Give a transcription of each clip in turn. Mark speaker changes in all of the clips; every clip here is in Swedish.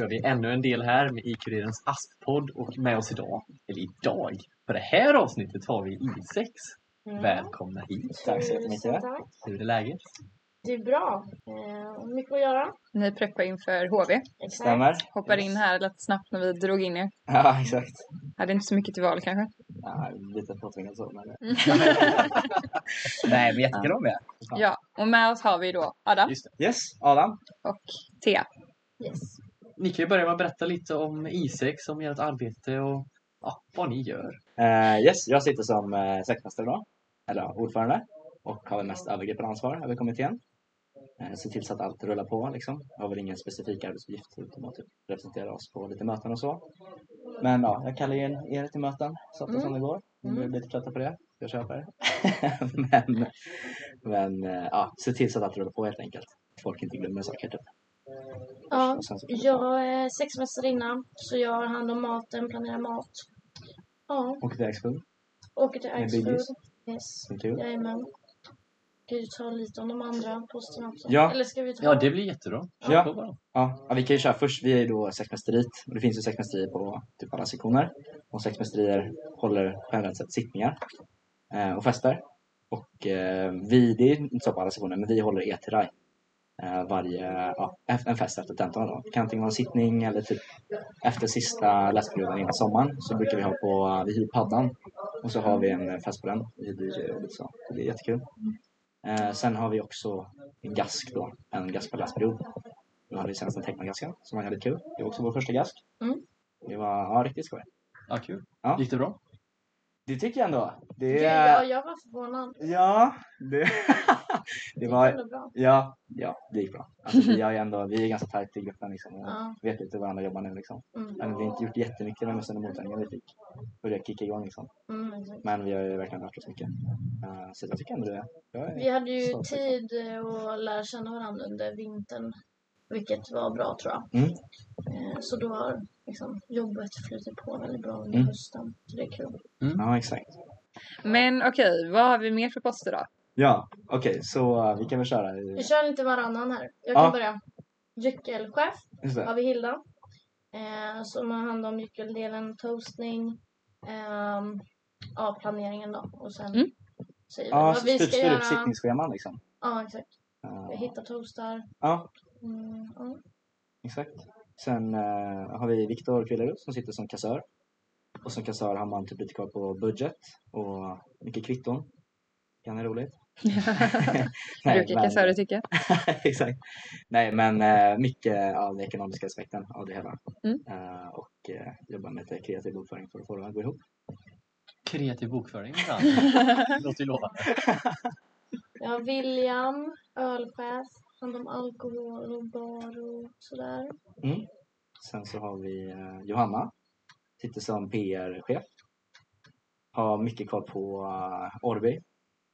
Speaker 1: gör vi ännu en del här med IQ-kurirens askpodd och med oss idag, eller idag, på det här avsnittet har vi I6.
Speaker 2: Mm.
Speaker 1: Välkomna hit!
Speaker 3: Tack så jättemycket.
Speaker 2: Tusen tack.
Speaker 1: Hur är läget?
Speaker 2: Det är bra. Eh, mycket att göra.
Speaker 4: Ni preppar inför HV.
Speaker 2: Exakt.
Speaker 3: Stämmer?
Speaker 4: Hoppade in här lite snabbt när vi drog in er.
Speaker 3: Ja, exakt.
Speaker 4: Hade inte så mycket till val kanske.
Speaker 3: Ja, lite påtvingad så, men...
Speaker 4: Mm.
Speaker 1: Nej, men jättekul att vara med!
Speaker 3: Ja.
Speaker 4: Ja, och med oss har vi då Adam
Speaker 1: Just det.
Speaker 3: Yes, Adam.
Speaker 4: och Thea.
Speaker 2: Yes.
Speaker 1: Ni kan ju börja med att berätta lite om I6, om ert arbete och ja, vad ni gör.
Speaker 3: Eh, yes, jag sitter som uh, sektmästare då, eller ja, ordförande, och har väl mest övergripande ansvar över kommittén. Uh, ser till så att allt rullar på liksom. Jag har väl ingen specifik arbetsuppgift utom att typ, representera oss på lite möten och så. Men ja, jag kallar ju in er till möten så ofta som det går. Ni blir lite trötta på det, jag köper. men men eh, ja, se till så att allt rullar på helt enkelt. Folk inte glömmer saker typ.
Speaker 2: Ja,
Speaker 3: Och sen så-
Speaker 2: jag är sexmästarinna, så jag har hand om maten, planerar mat. Ja,
Speaker 3: Och Dexpool,
Speaker 2: åker till
Speaker 3: Med
Speaker 2: Axfood.
Speaker 3: Billys.
Speaker 2: Yes.
Speaker 3: som tur.
Speaker 2: Jajamän. Ska vi ta lite om de andra posterna också?
Speaker 3: Ja.
Speaker 2: Eller ska vi ta...
Speaker 1: Ja, det blir jättebra. Kör
Speaker 3: Ja.
Speaker 1: på bara.
Speaker 3: Ja, ja, vi kan ju köra först. Vi är ju då sexmästeriet och det finns ju sexmästerier på typ alla sektioner. Och sexmästerier håller generellt sett sittningar eh, och fester. Och eh, vi, det är inte så på alla sektioner, men vi håller eteraj eh, varje, ja, ef- en fest efter tentan då. Det kan antingen vara en sittning eller typ efter sista läsperioden innan sommaren så brukar vi ha på, eh, vi hyr paddan och så har vi en fest på den. Vi blir, och lite så. Så det är jättekul. Eh, sen har vi också en gask då, en gask per läsperiod. Nu hade vi senast en Technogasken som var jävligt kul. Det var också vår första gask.
Speaker 2: Mm.
Speaker 3: Det var ja, riktigt skoj.
Speaker 1: Ja, kul.
Speaker 3: Ja.
Speaker 1: Gick det bra?
Speaker 3: Det tycker jag ändå.
Speaker 2: det...
Speaker 3: Det...
Speaker 2: Ja, jag var förvånad.
Speaker 3: Ja, det... det
Speaker 2: gick
Speaker 3: var...
Speaker 2: ändå bra.
Speaker 3: Ja, ja, det gick bra. Alltså, vi, har ju ändå, vi är ganska tajt i gruppen liksom, och
Speaker 2: Ja.
Speaker 3: vet lite hur varandra jobbar nu. Liksom.
Speaker 2: Mm.
Speaker 3: Men vi har inte gjort jättemycket med mössan och motövningen vi fick. Och det kickade igång liksom.
Speaker 2: Mm, exakt.
Speaker 3: Men vi har ju verkligen lärt oss mycket. Eh, så jag tycker ändå det. Jag är...
Speaker 2: Vi hade ju
Speaker 3: Så, tack.
Speaker 2: tid eh, att lära känna varandra under vintern, vilket var bra tror jag.
Speaker 3: Mm.
Speaker 2: Eh, Så då har liksom, jobbet flutit på väldigt bra under
Speaker 3: Mm.
Speaker 2: hösten. Så det är kul.
Speaker 3: Ja, exakt.
Speaker 4: Men okej, vad har vi mer för poster då?
Speaker 3: Ja, okej, så eh, vi kan väl köra.
Speaker 2: Vi
Speaker 3: i-
Speaker 2: kör lite varannan här. Jag kan
Speaker 3: Ja.
Speaker 2: börja. Gyckelchef
Speaker 3: Just det.
Speaker 2: har vi Hilda. Eh, som har hand om gyckeldelen, toastning, ehm, ja, planeringen då. Och sen
Speaker 4: Mm.
Speaker 2: säger vi
Speaker 3: Ja,
Speaker 2: vad vi
Speaker 3: typ
Speaker 2: ska
Speaker 3: styr upp
Speaker 2: göra.
Speaker 3: sittningsscheman liksom.
Speaker 2: Ja, exakt.
Speaker 3: Eh,
Speaker 2: Vi hittar toastar.
Speaker 3: Ja,
Speaker 2: Mm, ja.
Speaker 3: Exakt. Sen eh, har vi Viktor Kvillerud som sitter som kassör. Och som kassör har man typ lite koll på budget och mycket kvitton. Kan vara roligt.
Speaker 4: Brukar
Speaker 3: men-
Speaker 4: kassörer tycka.
Speaker 3: Exakt. Nej, men eh, mycket av den ekonomiska aspekten av det hela.
Speaker 4: Mm.
Speaker 3: Eh, och eh, jobbar med lite kreativ bokföring för att få det att gå ihop.
Speaker 1: Kreativ bokföring ibland. Låter ju lovande.
Speaker 2: Ja, William, ölchef, hand om alkohol och bar och sådär.
Speaker 3: Mm. Sen så har vi eh, Johanna. Sitter som PR-chef. Har mycket koll på eh, Orbi.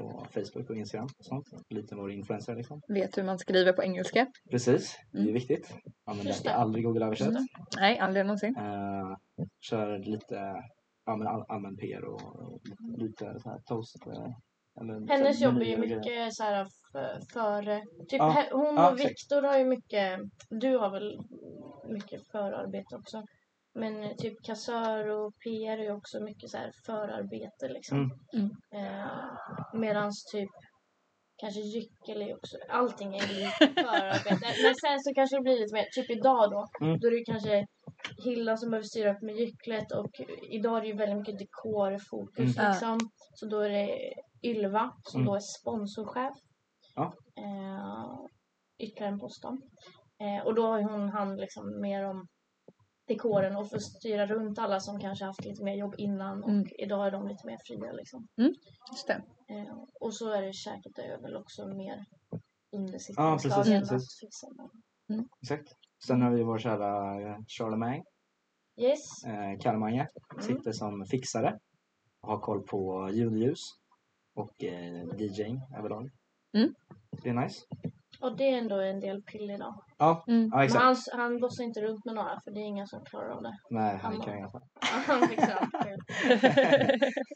Speaker 3: Och Facebook och Instagram och sånt. Lite vår influencer liksom.
Speaker 4: Vet hur man skriver på engelska.
Speaker 3: Precis, det är
Speaker 4: Mm.
Speaker 3: viktigt. Använder
Speaker 2: Just
Speaker 3: det.
Speaker 2: det.
Speaker 3: aldrig Google översätt.
Speaker 4: Mm. Nej, aldrig någonsin.
Speaker 3: Eh, kör lite ja, men all, allmän PR och, och lite så här toast. eh, eller så här
Speaker 2: Hennes jobb är ju
Speaker 3: menyer och grejer.
Speaker 2: mycket så här f- före... Typ,
Speaker 3: Ja,
Speaker 2: he- hon
Speaker 3: ja,
Speaker 2: och
Speaker 3: exakt.
Speaker 2: Viktor har ju mycket... Du har väl mycket förarbete också. Men eh, typ kassör och PR är ju också mycket så här förarbete liksom.
Speaker 3: Mm.
Speaker 4: Mm.
Speaker 2: Eh, medans typ kanske gyckel är också... Allting är ju förarbete. Men sen så kanske det blir lite mer... Typ idag då.
Speaker 3: Mm.
Speaker 2: Då är det ju kanske Hilda som behöver styra upp med gycklet och idag är det ju väldigt mycket dekorfokus
Speaker 4: Mm. Ja.
Speaker 2: liksom. Så då är det Ylva som
Speaker 3: Mm.
Speaker 2: då är sponsorchef.
Speaker 3: Ja.
Speaker 2: Eh, ytterligare en post då. Eh, och då har ju hon hand liksom mer om dekoren och får styra runt alla som kanske haft lite mer jobb innan och
Speaker 4: Mm.
Speaker 2: idag är de lite mer fria liksom.
Speaker 4: Just det.
Speaker 2: Eh, och så är det käket där är väl också mer under sitt
Speaker 3: Ja, precis, precis. Exakt. Sen har vi vår kära eh, Charlemagne,
Speaker 2: Yes.
Speaker 3: eh, Kalmange.
Speaker 2: Mm.
Speaker 3: Sitter som fixare. Har koll på ljudljus och eh, DJing överlag.
Speaker 4: Mm.
Speaker 3: Det är nice.
Speaker 2: Och det är ändå en del pill idag.
Speaker 3: Ja,
Speaker 4: Mm.
Speaker 3: ja
Speaker 2: Men
Speaker 3: exakt.
Speaker 2: han, han bossar inte runt med några för det är inga som klarar av det.
Speaker 3: Nej, han alltså. kan ju i alla fall.
Speaker 2: Han fixar allt själv.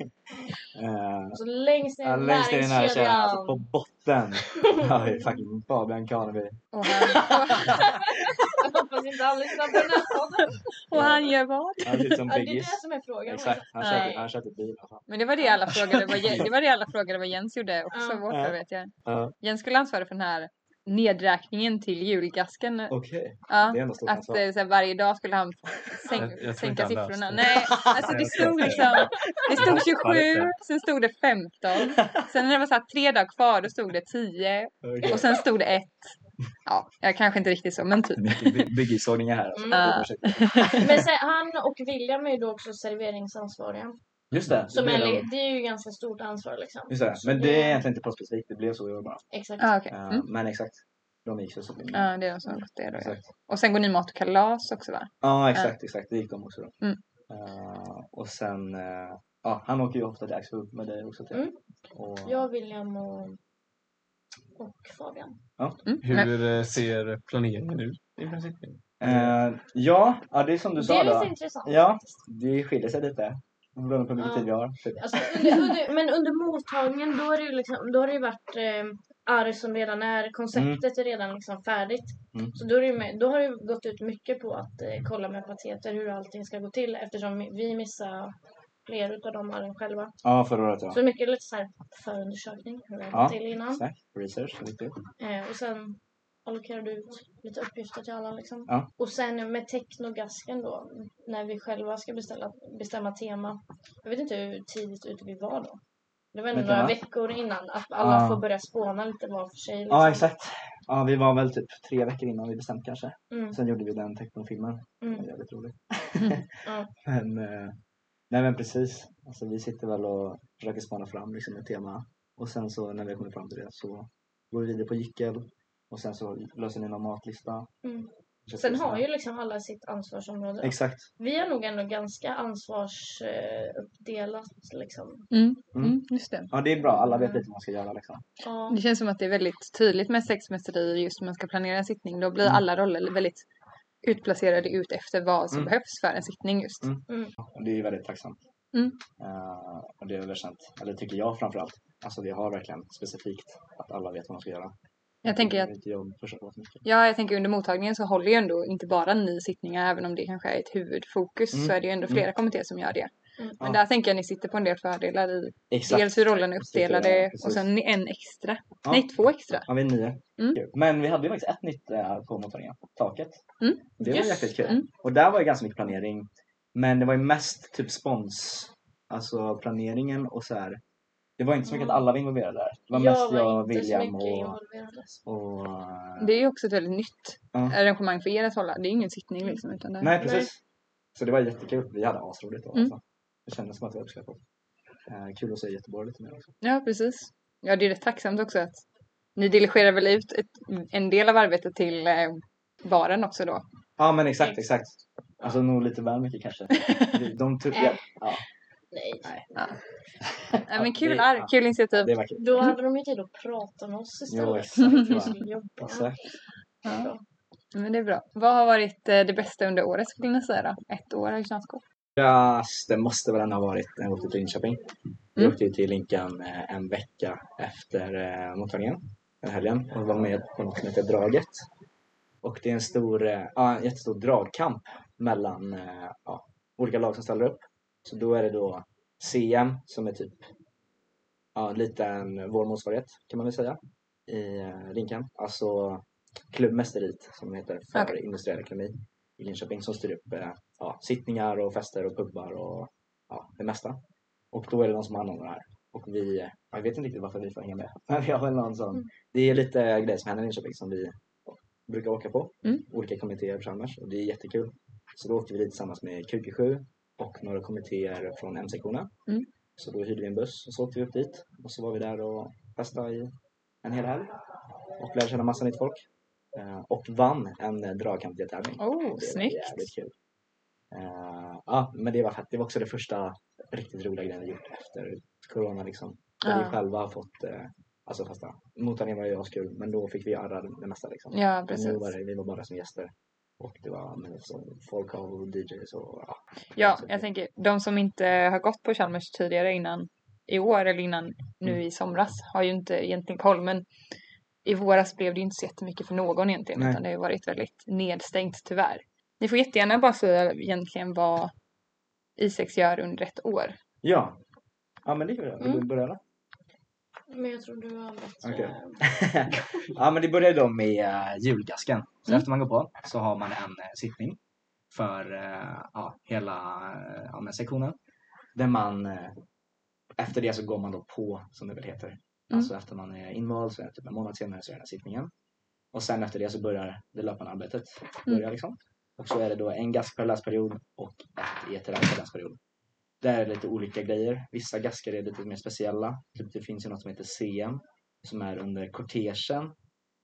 Speaker 3: Eh,
Speaker 2: Så längst ner
Speaker 3: Ja,
Speaker 2: i
Speaker 3: längst ner i näringskedjan, alltså på
Speaker 2: näringskedjan.
Speaker 3: botten, har vi fucking Fabian Karneby.
Speaker 4: och han,
Speaker 2: Hoppas inte han lyssnar på den här podden.
Speaker 4: Och han gör vad?
Speaker 3: Han ser ut som
Speaker 2: Ja, Det är
Speaker 3: Biggis.
Speaker 2: det som är frågan.
Speaker 3: Exakt, han
Speaker 4: Nej.
Speaker 3: köpte, han köpte bil. alltså. och fan.
Speaker 4: Men det var det alla frågade vad, Je- det var det alla frågade vad Jens gjorde också
Speaker 2: Ja.
Speaker 4: borta
Speaker 3: Ja.
Speaker 4: vet jag.
Speaker 3: Ja.
Speaker 4: Jens skulle ansvara för den här nedräkningen till julgasken.
Speaker 3: Okej,
Speaker 4: Ja.
Speaker 3: det är ändå stort
Speaker 4: Att
Speaker 3: ansvar.
Speaker 4: eh, så här, varje dag skulle han sänk,
Speaker 1: Jag- jag tror inte
Speaker 4: sänka
Speaker 1: han
Speaker 4: siffrorna.
Speaker 1: löste det.
Speaker 4: Nej, alltså det
Speaker 1: Jag
Speaker 4: stod
Speaker 1: tror inte.
Speaker 4: liksom Det stod
Speaker 1: Kvalitet.
Speaker 4: 27, sen stod det 15. Sen när det var så här, tre dagar kvar då stod det 10
Speaker 3: Okej.
Speaker 4: och sen stod det 1. Ja, jag kanske inte riktigt så men typ.
Speaker 3: Mycket by- Byggisågningar här. Alltså.
Speaker 2: Mm.
Speaker 3: Det är
Speaker 4: Ja.
Speaker 3: projekt.
Speaker 2: Men sen, han och William är ju då också serveringsansvariga.
Speaker 3: Just det.
Speaker 2: Som
Speaker 3: det,
Speaker 2: är,
Speaker 3: blev
Speaker 2: li-
Speaker 3: de-
Speaker 2: det är ju ganska stort ansvar liksom.
Speaker 3: Just det.
Speaker 2: Så
Speaker 3: Men det är egentligen inte postspecifikt, det blev så i år bara.
Speaker 2: Exakt.
Speaker 4: Ja, okej.
Speaker 3: Eh,
Speaker 4: Mm.
Speaker 3: Men exakt, de gick så. så. Ja,
Speaker 4: Ja, det är de som har gått det då. ja.
Speaker 3: exakt.
Speaker 4: Och sen går ni mat och kalas också va?
Speaker 3: Ja, exakt, exakt. Det gick de också. Då.
Speaker 4: Mm.
Speaker 3: Eh, och sen, eh, ja, han åker ju ofta till Axfood med dig också. Till.
Speaker 2: Mm.
Speaker 3: Och,
Speaker 2: Jag, William och, och Fabian.
Speaker 4: Mm. Men-
Speaker 1: Hur eh, ser planeringen ut i princip?
Speaker 3: Eh, ja, ja, det är som du
Speaker 2: det
Speaker 3: sa
Speaker 2: är lite
Speaker 3: då.
Speaker 2: intressant.
Speaker 3: Ja, det skiljer sig lite. Beroende på hur mycket
Speaker 2: Ja.
Speaker 3: tid vi har. Typ.
Speaker 2: Alltså, under, under, men under mottagningen då har det ju, liksom, då har det ju varit eh, arg som redan är, konceptet är redan liksom färdigt.
Speaker 3: Mm.
Speaker 2: Så då, är det ju, med- då har det ju gått ut mycket på att eh, kolla med pateter hur allting ska gå till eftersom vi missar fler utav de arren själva.
Speaker 3: Ja, förra året ja.
Speaker 2: Så mycket lite så här förundersökning, hur det har
Speaker 3: Ja.
Speaker 2: gått till innan.
Speaker 3: Snack, research, viktigt.
Speaker 2: Eh, och sen allokerar du ut lite uppgifter till alla liksom.
Speaker 3: Ja.
Speaker 2: Och sen med teknogasken då, när vi själva ska beställa, bestämma tema. Jag vet inte hur tidigt ute vi var då. Det var ändå
Speaker 3: Vet du
Speaker 2: några
Speaker 3: vad?
Speaker 2: veckor innan, att alla
Speaker 3: Ja.
Speaker 2: får börja spåna lite var för sig. Liksom.
Speaker 3: Ja, exakt. Ja, vi var väl typ tre veckor innan vi bestämt kanske.
Speaker 2: Mm,
Speaker 3: Sen gjorde vi den technofilmen. Det var
Speaker 2: mm,
Speaker 3: jävligt roligt.
Speaker 4: Mm.
Speaker 2: ja.
Speaker 3: Men, eh, nej men precis. Alltså, vi sitter väl och försöker spana fram liksom, ett tema. Och sen så när vi kommer fram till det så går vi vidare på gyckel. Och sen så löser ni någon matlista.
Speaker 2: Mm.
Speaker 3: Köper
Speaker 2: Sen
Speaker 3: såna-
Speaker 2: har ju liksom alla sitt ansvarsområde.
Speaker 3: Exakt.
Speaker 2: Vi är nog ändå ganska ansvarsuppdelat liksom.
Speaker 4: Mm.
Speaker 3: Mm.
Speaker 4: Mm, just det.
Speaker 3: Ja, det är bra. Alla vet lite vad man ska göra liksom.
Speaker 2: Ja.
Speaker 4: Det känns som att det är väldigt tydligt med sexmästerier just när man ska planera en sittning. Då blir
Speaker 3: Mm.
Speaker 4: alla roller väldigt utplacerade ut efter vad som
Speaker 3: Mm.
Speaker 4: behövs för en sittning just.
Speaker 3: Mm. Och det är ju väldigt tacksamt.
Speaker 4: Mm.
Speaker 3: Eh, och det är väldigt känt. Eller tycker jag framförallt. Alltså vi har verkligen specifikt att alla vet vad man ska göra.
Speaker 4: Jag tänker att,
Speaker 3: Inte jag försöker vara för mycket.
Speaker 4: ja, jag tänker under mottagningen så håller ju ändå inte bara ni sittningar, även om det kanske är ett huvudfokus
Speaker 3: Mm.
Speaker 4: så är det ju ändå
Speaker 3: Mm.
Speaker 4: flera kommittéer som gör det.
Speaker 2: Mm.
Speaker 4: Men
Speaker 3: Ja.
Speaker 4: där tänker jag ni sitter på en del fördelar i
Speaker 3: Exakt.
Speaker 4: dels hur rollerna är uppdelade
Speaker 3: Strukturerna, precis.
Speaker 4: och sen en extra.
Speaker 3: Ja.
Speaker 4: Nej, två extra.
Speaker 3: Ja, vi är nio.
Speaker 4: Mm.
Speaker 3: Kul. Men vi hade ju faktiskt ett nytt eh, på mottagningen, taket.
Speaker 4: Mm.
Speaker 3: Det var
Speaker 2: Just
Speaker 3: jäkligt kul.
Speaker 4: det. Mm.
Speaker 3: Och där var ju ganska mycket planering. Men det var ju mest typ spons, alltså planeringen och så här. Det var inte så mycket
Speaker 2: Mm.
Speaker 3: att alla var involverade där. Det var
Speaker 2: jag
Speaker 3: mest
Speaker 2: var
Speaker 3: jag,
Speaker 2: inte så
Speaker 3: William
Speaker 2: mycket
Speaker 3: och...
Speaker 2: involverad. alltså.
Speaker 3: och
Speaker 4: Det är ju också ett väldigt nytt
Speaker 2: eh,
Speaker 3: Ja.
Speaker 4: arrangemang för er att hålla. Det är ju ingen sittning liksom. Utan det...
Speaker 3: Mm. Nej, precis. Så det var jättekul. Vi hade asroligt då.
Speaker 4: Mm.
Speaker 3: Alltså. Det kändes som att vi var uppskattade. Eh, kul att se Göteborg lite mer också.
Speaker 4: Ja, precis. Ja, det är rätt tacksamt också att ni diligerar väl ut ett, en del av arbetet till eh, baren också då.
Speaker 3: Ja, men exakt, exakt. Alltså nog lite väl mycket kanske. De, de typ,
Speaker 2: Äh.
Speaker 3: ja,
Speaker 2: Nej.
Speaker 4: Ja, men kul,
Speaker 3: det-
Speaker 4: ar-
Speaker 3: ja.
Speaker 4: kul initiativ.
Speaker 3: det var kul.
Speaker 2: Då hade de ju tid att prata med oss
Speaker 3: Mm. Jo,
Speaker 2: istället.
Speaker 3: exakt.
Speaker 2: Vi
Speaker 3: va.
Speaker 2: skulle jobba.
Speaker 3: Exakt.
Speaker 4: Ja. Men det är bra. Vad har varit eh, det bästa under året skulle ni säga då? Ett år i Tjärnskog?
Speaker 3: Ja, det måste väl ändå ha varit när jag åkte till Linköping. Vi
Speaker 4: Mm.
Speaker 3: åkte ju till Linkan eh, en vecka efter eh, mottagningen, den helgen, och var med på något som heter Draget. Och det är en stor, eh, ja, en jättestor dragkamp mellan eh, ja, olika lag som ställer upp. Så då är det då CM som är typ ja, lite en vår motsvarighet kan man väl säga i eh, Linkan. Alltså klubbmästeriet som det heter för
Speaker 4: Okej.
Speaker 3: industriell ekonomi i Linköping som styr upp eh, ja, sittningar och fester och pubbar och ja, det mesta. Och då är det de som har hand om det här. Och vi, ja, jag vet inte riktigt varför vi får hänga med. Men vi har väl någon sån,
Speaker 2: Mm.
Speaker 3: det är lite grejer som händer i Linköping som vi brukar åka på.
Speaker 4: Mm.
Speaker 3: Olika kommittéer tillsammans och det är jättekul. Så då åkte vi dit tillsammans med QQ7 och några kommittéer från MC-korna.
Speaker 4: Mm.
Speaker 3: Så då hyrde vi en buss och så åkte vi upp dit och så var vi där och festade i en hel helg och lärde känna massa nytt folk. Eh, Och vann en eh, dragkamp-deltävling.
Speaker 4: Oh,
Speaker 3: Det var
Speaker 4: snyggt.
Speaker 3: jävligt kul. Eh, ja, men det var fett. Det var också det första riktigt roliga grejen vi gjort efter corona. Liksom. Där
Speaker 4: Ja.
Speaker 3: vi själva har fått, eh, alltså fasta, mottagningen var ju askul men då fick vi arra det mesta. Liksom.
Speaker 4: Ja,
Speaker 3: Men
Speaker 4: precis.
Speaker 3: Nu var det, vi var bara som gäster. Och det var men, så, folk och DJs och ja.
Speaker 4: Ja, jag tänker de som inte har gått på Chalmers
Speaker 3: Mm.
Speaker 4: tidigare innan i år eller innan nu i somras har ju inte egentligen koll men I våras blev det ju inte så jättemycket för någon egentligen
Speaker 3: Nej.
Speaker 4: utan det har ju varit väldigt nedstängt tyvärr. Ni får jättegärna bara säga egentligen vad I6 gör under ett
Speaker 3: Mm.
Speaker 4: år.
Speaker 3: Ja. Ja men det gör jag. Vill
Speaker 4: Mm.
Speaker 3: du börja då?
Speaker 2: Men jag tror du har eh, bättre...
Speaker 3: Okej. ja men det börjar då med eh, julgasken. Så efter man går på så har man en eh, sittning för eh, ja, hela eh, ja, men sektionen. Där man eh, efter det så går man då på som det väl heter.
Speaker 4: Mm.
Speaker 3: Alltså efter man är invald så är det typ en månad senare så är den här sittningen. Och sen efter det så börjar det löpande arbetet.
Speaker 4: Mm.
Speaker 3: Börjar liksom. Och så är det då en gask per läsperiod och ett ETR per läsperiod. Där är det lite olika grejer. Vissa gaskar är lite mer speciella. Typ det finns ju något som heter CM som är under kortegen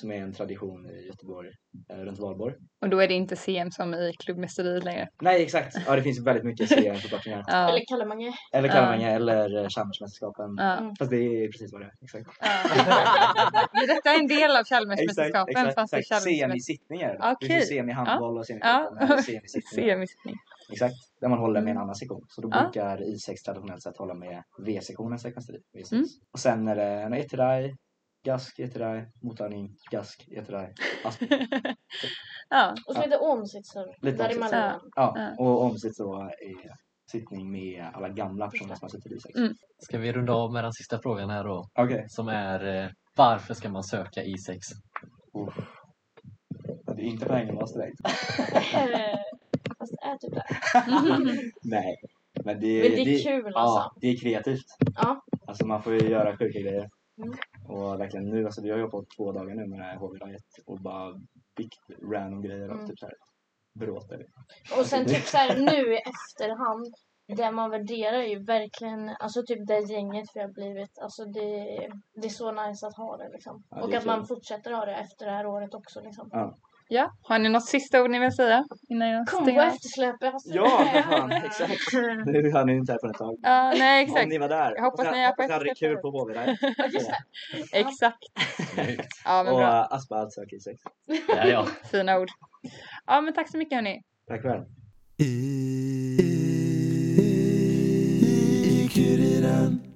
Speaker 3: som är en tradition i Göteborg eh, runt Valborg.
Speaker 4: Och då är det inte CM som i klubbmästeriet längre.
Speaker 3: Nej exakt, ja det finns ju väldigt mycket CM-förkortningar.
Speaker 4: Ja,
Speaker 2: Eller Kalle
Speaker 3: Eller Kallinge eller eh, Chalmersmästerskapen.
Speaker 4: ja,
Speaker 3: Fast det är precis vad det är. Exakt.
Speaker 4: ja. Detta är en del av
Speaker 3: Exakt,
Speaker 4: Chalmersmästerskapen
Speaker 3: exakt,
Speaker 4: fast det
Speaker 3: exakt.
Speaker 4: Chalmers...
Speaker 3: Semisittningar. Det
Speaker 4: Okej.
Speaker 3: finns ju semihandboll
Speaker 4: Ja.
Speaker 3: och semifotboll. och semisittningar.
Speaker 4: Semisittning.
Speaker 3: Exakt, där man håller med en annan sektion. Så då
Speaker 4: Ja.
Speaker 3: brukar I6 traditionellt sett hålla med V-sektionen sekvensterit. V6.
Speaker 4: Mm.
Speaker 3: Och sen är det en eterai, gask, eterai, mottagning, gask, eterai, asp.
Speaker 4: Ja,
Speaker 2: Och så lite omsitsar
Speaker 3: Lite
Speaker 2: däremellan.
Speaker 3: Ja,
Speaker 4: Ja.
Speaker 3: och omsitt så är sittning med alla gamla personer som har suttit i I6.
Speaker 4: Mm.
Speaker 1: Ska vi runda av med den sista frågan här då?
Speaker 3: Okej,
Speaker 1: Som är eh, varför ska man söka I6?
Speaker 3: det är inte på Ängelmars direkt.
Speaker 2: Eh, Fast det är typ det.
Speaker 3: Nej, men det,
Speaker 2: Men det är kul
Speaker 3: Ja,
Speaker 2: alltså.
Speaker 3: det är kreativt.
Speaker 2: Ja.
Speaker 3: Alltså man får ju göra sjuka grejer.
Speaker 2: Mm.
Speaker 3: Och verkligen nu, alltså vi har jobbat två dagar nu med det här hv och bara byggt random grejer och
Speaker 2: Mm.
Speaker 3: typ såhär bråter.
Speaker 2: Och sen typ så här nu i efterhand. Det man värderar är ju verkligen, alltså typ det gänget vi har blivit. Alltså det, det är så nice att ha det liksom.
Speaker 3: Ja, det
Speaker 2: Och
Speaker 3: är
Speaker 2: att man
Speaker 3: kul.
Speaker 2: fortsätter ha det efter det här året också liksom.
Speaker 4: ja. Har ni något sista ord ni vill säga? Innan jag
Speaker 2: Kom på
Speaker 4: stänger av?
Speaker 2: eftersläpet! Alltså.
Speaker 3: Ja, för fan, exakt. Nu har ni inte här på ett tag.
Speaker 4: Ja, nej
Speaker 3: Om
Speaker 4: exakt.
Speaker 3: ni var där.
Speaker 4: Jag hoppas
Speaker 3: Och sen-
Speaker 4: ni är på
Speaker 3: hoppas hade det
Speaker 4: efterfest.
Speaker 3: kul på hv där.
Speaker 4: Exakt.
Speaker 1: Snyggt!
Speaker 4: Ja, men
Speaker 3: Och
Speaker 4: bra.
Speaker 3: äh, Aspa alltså, okej, sex.
Speaker 1: Ja, ja.
Speaker 4: Fina ord. Ja, men tack så mycket hörni.
Speaker 3: Tack själv.
Speaker 5: I, i, i kuriren.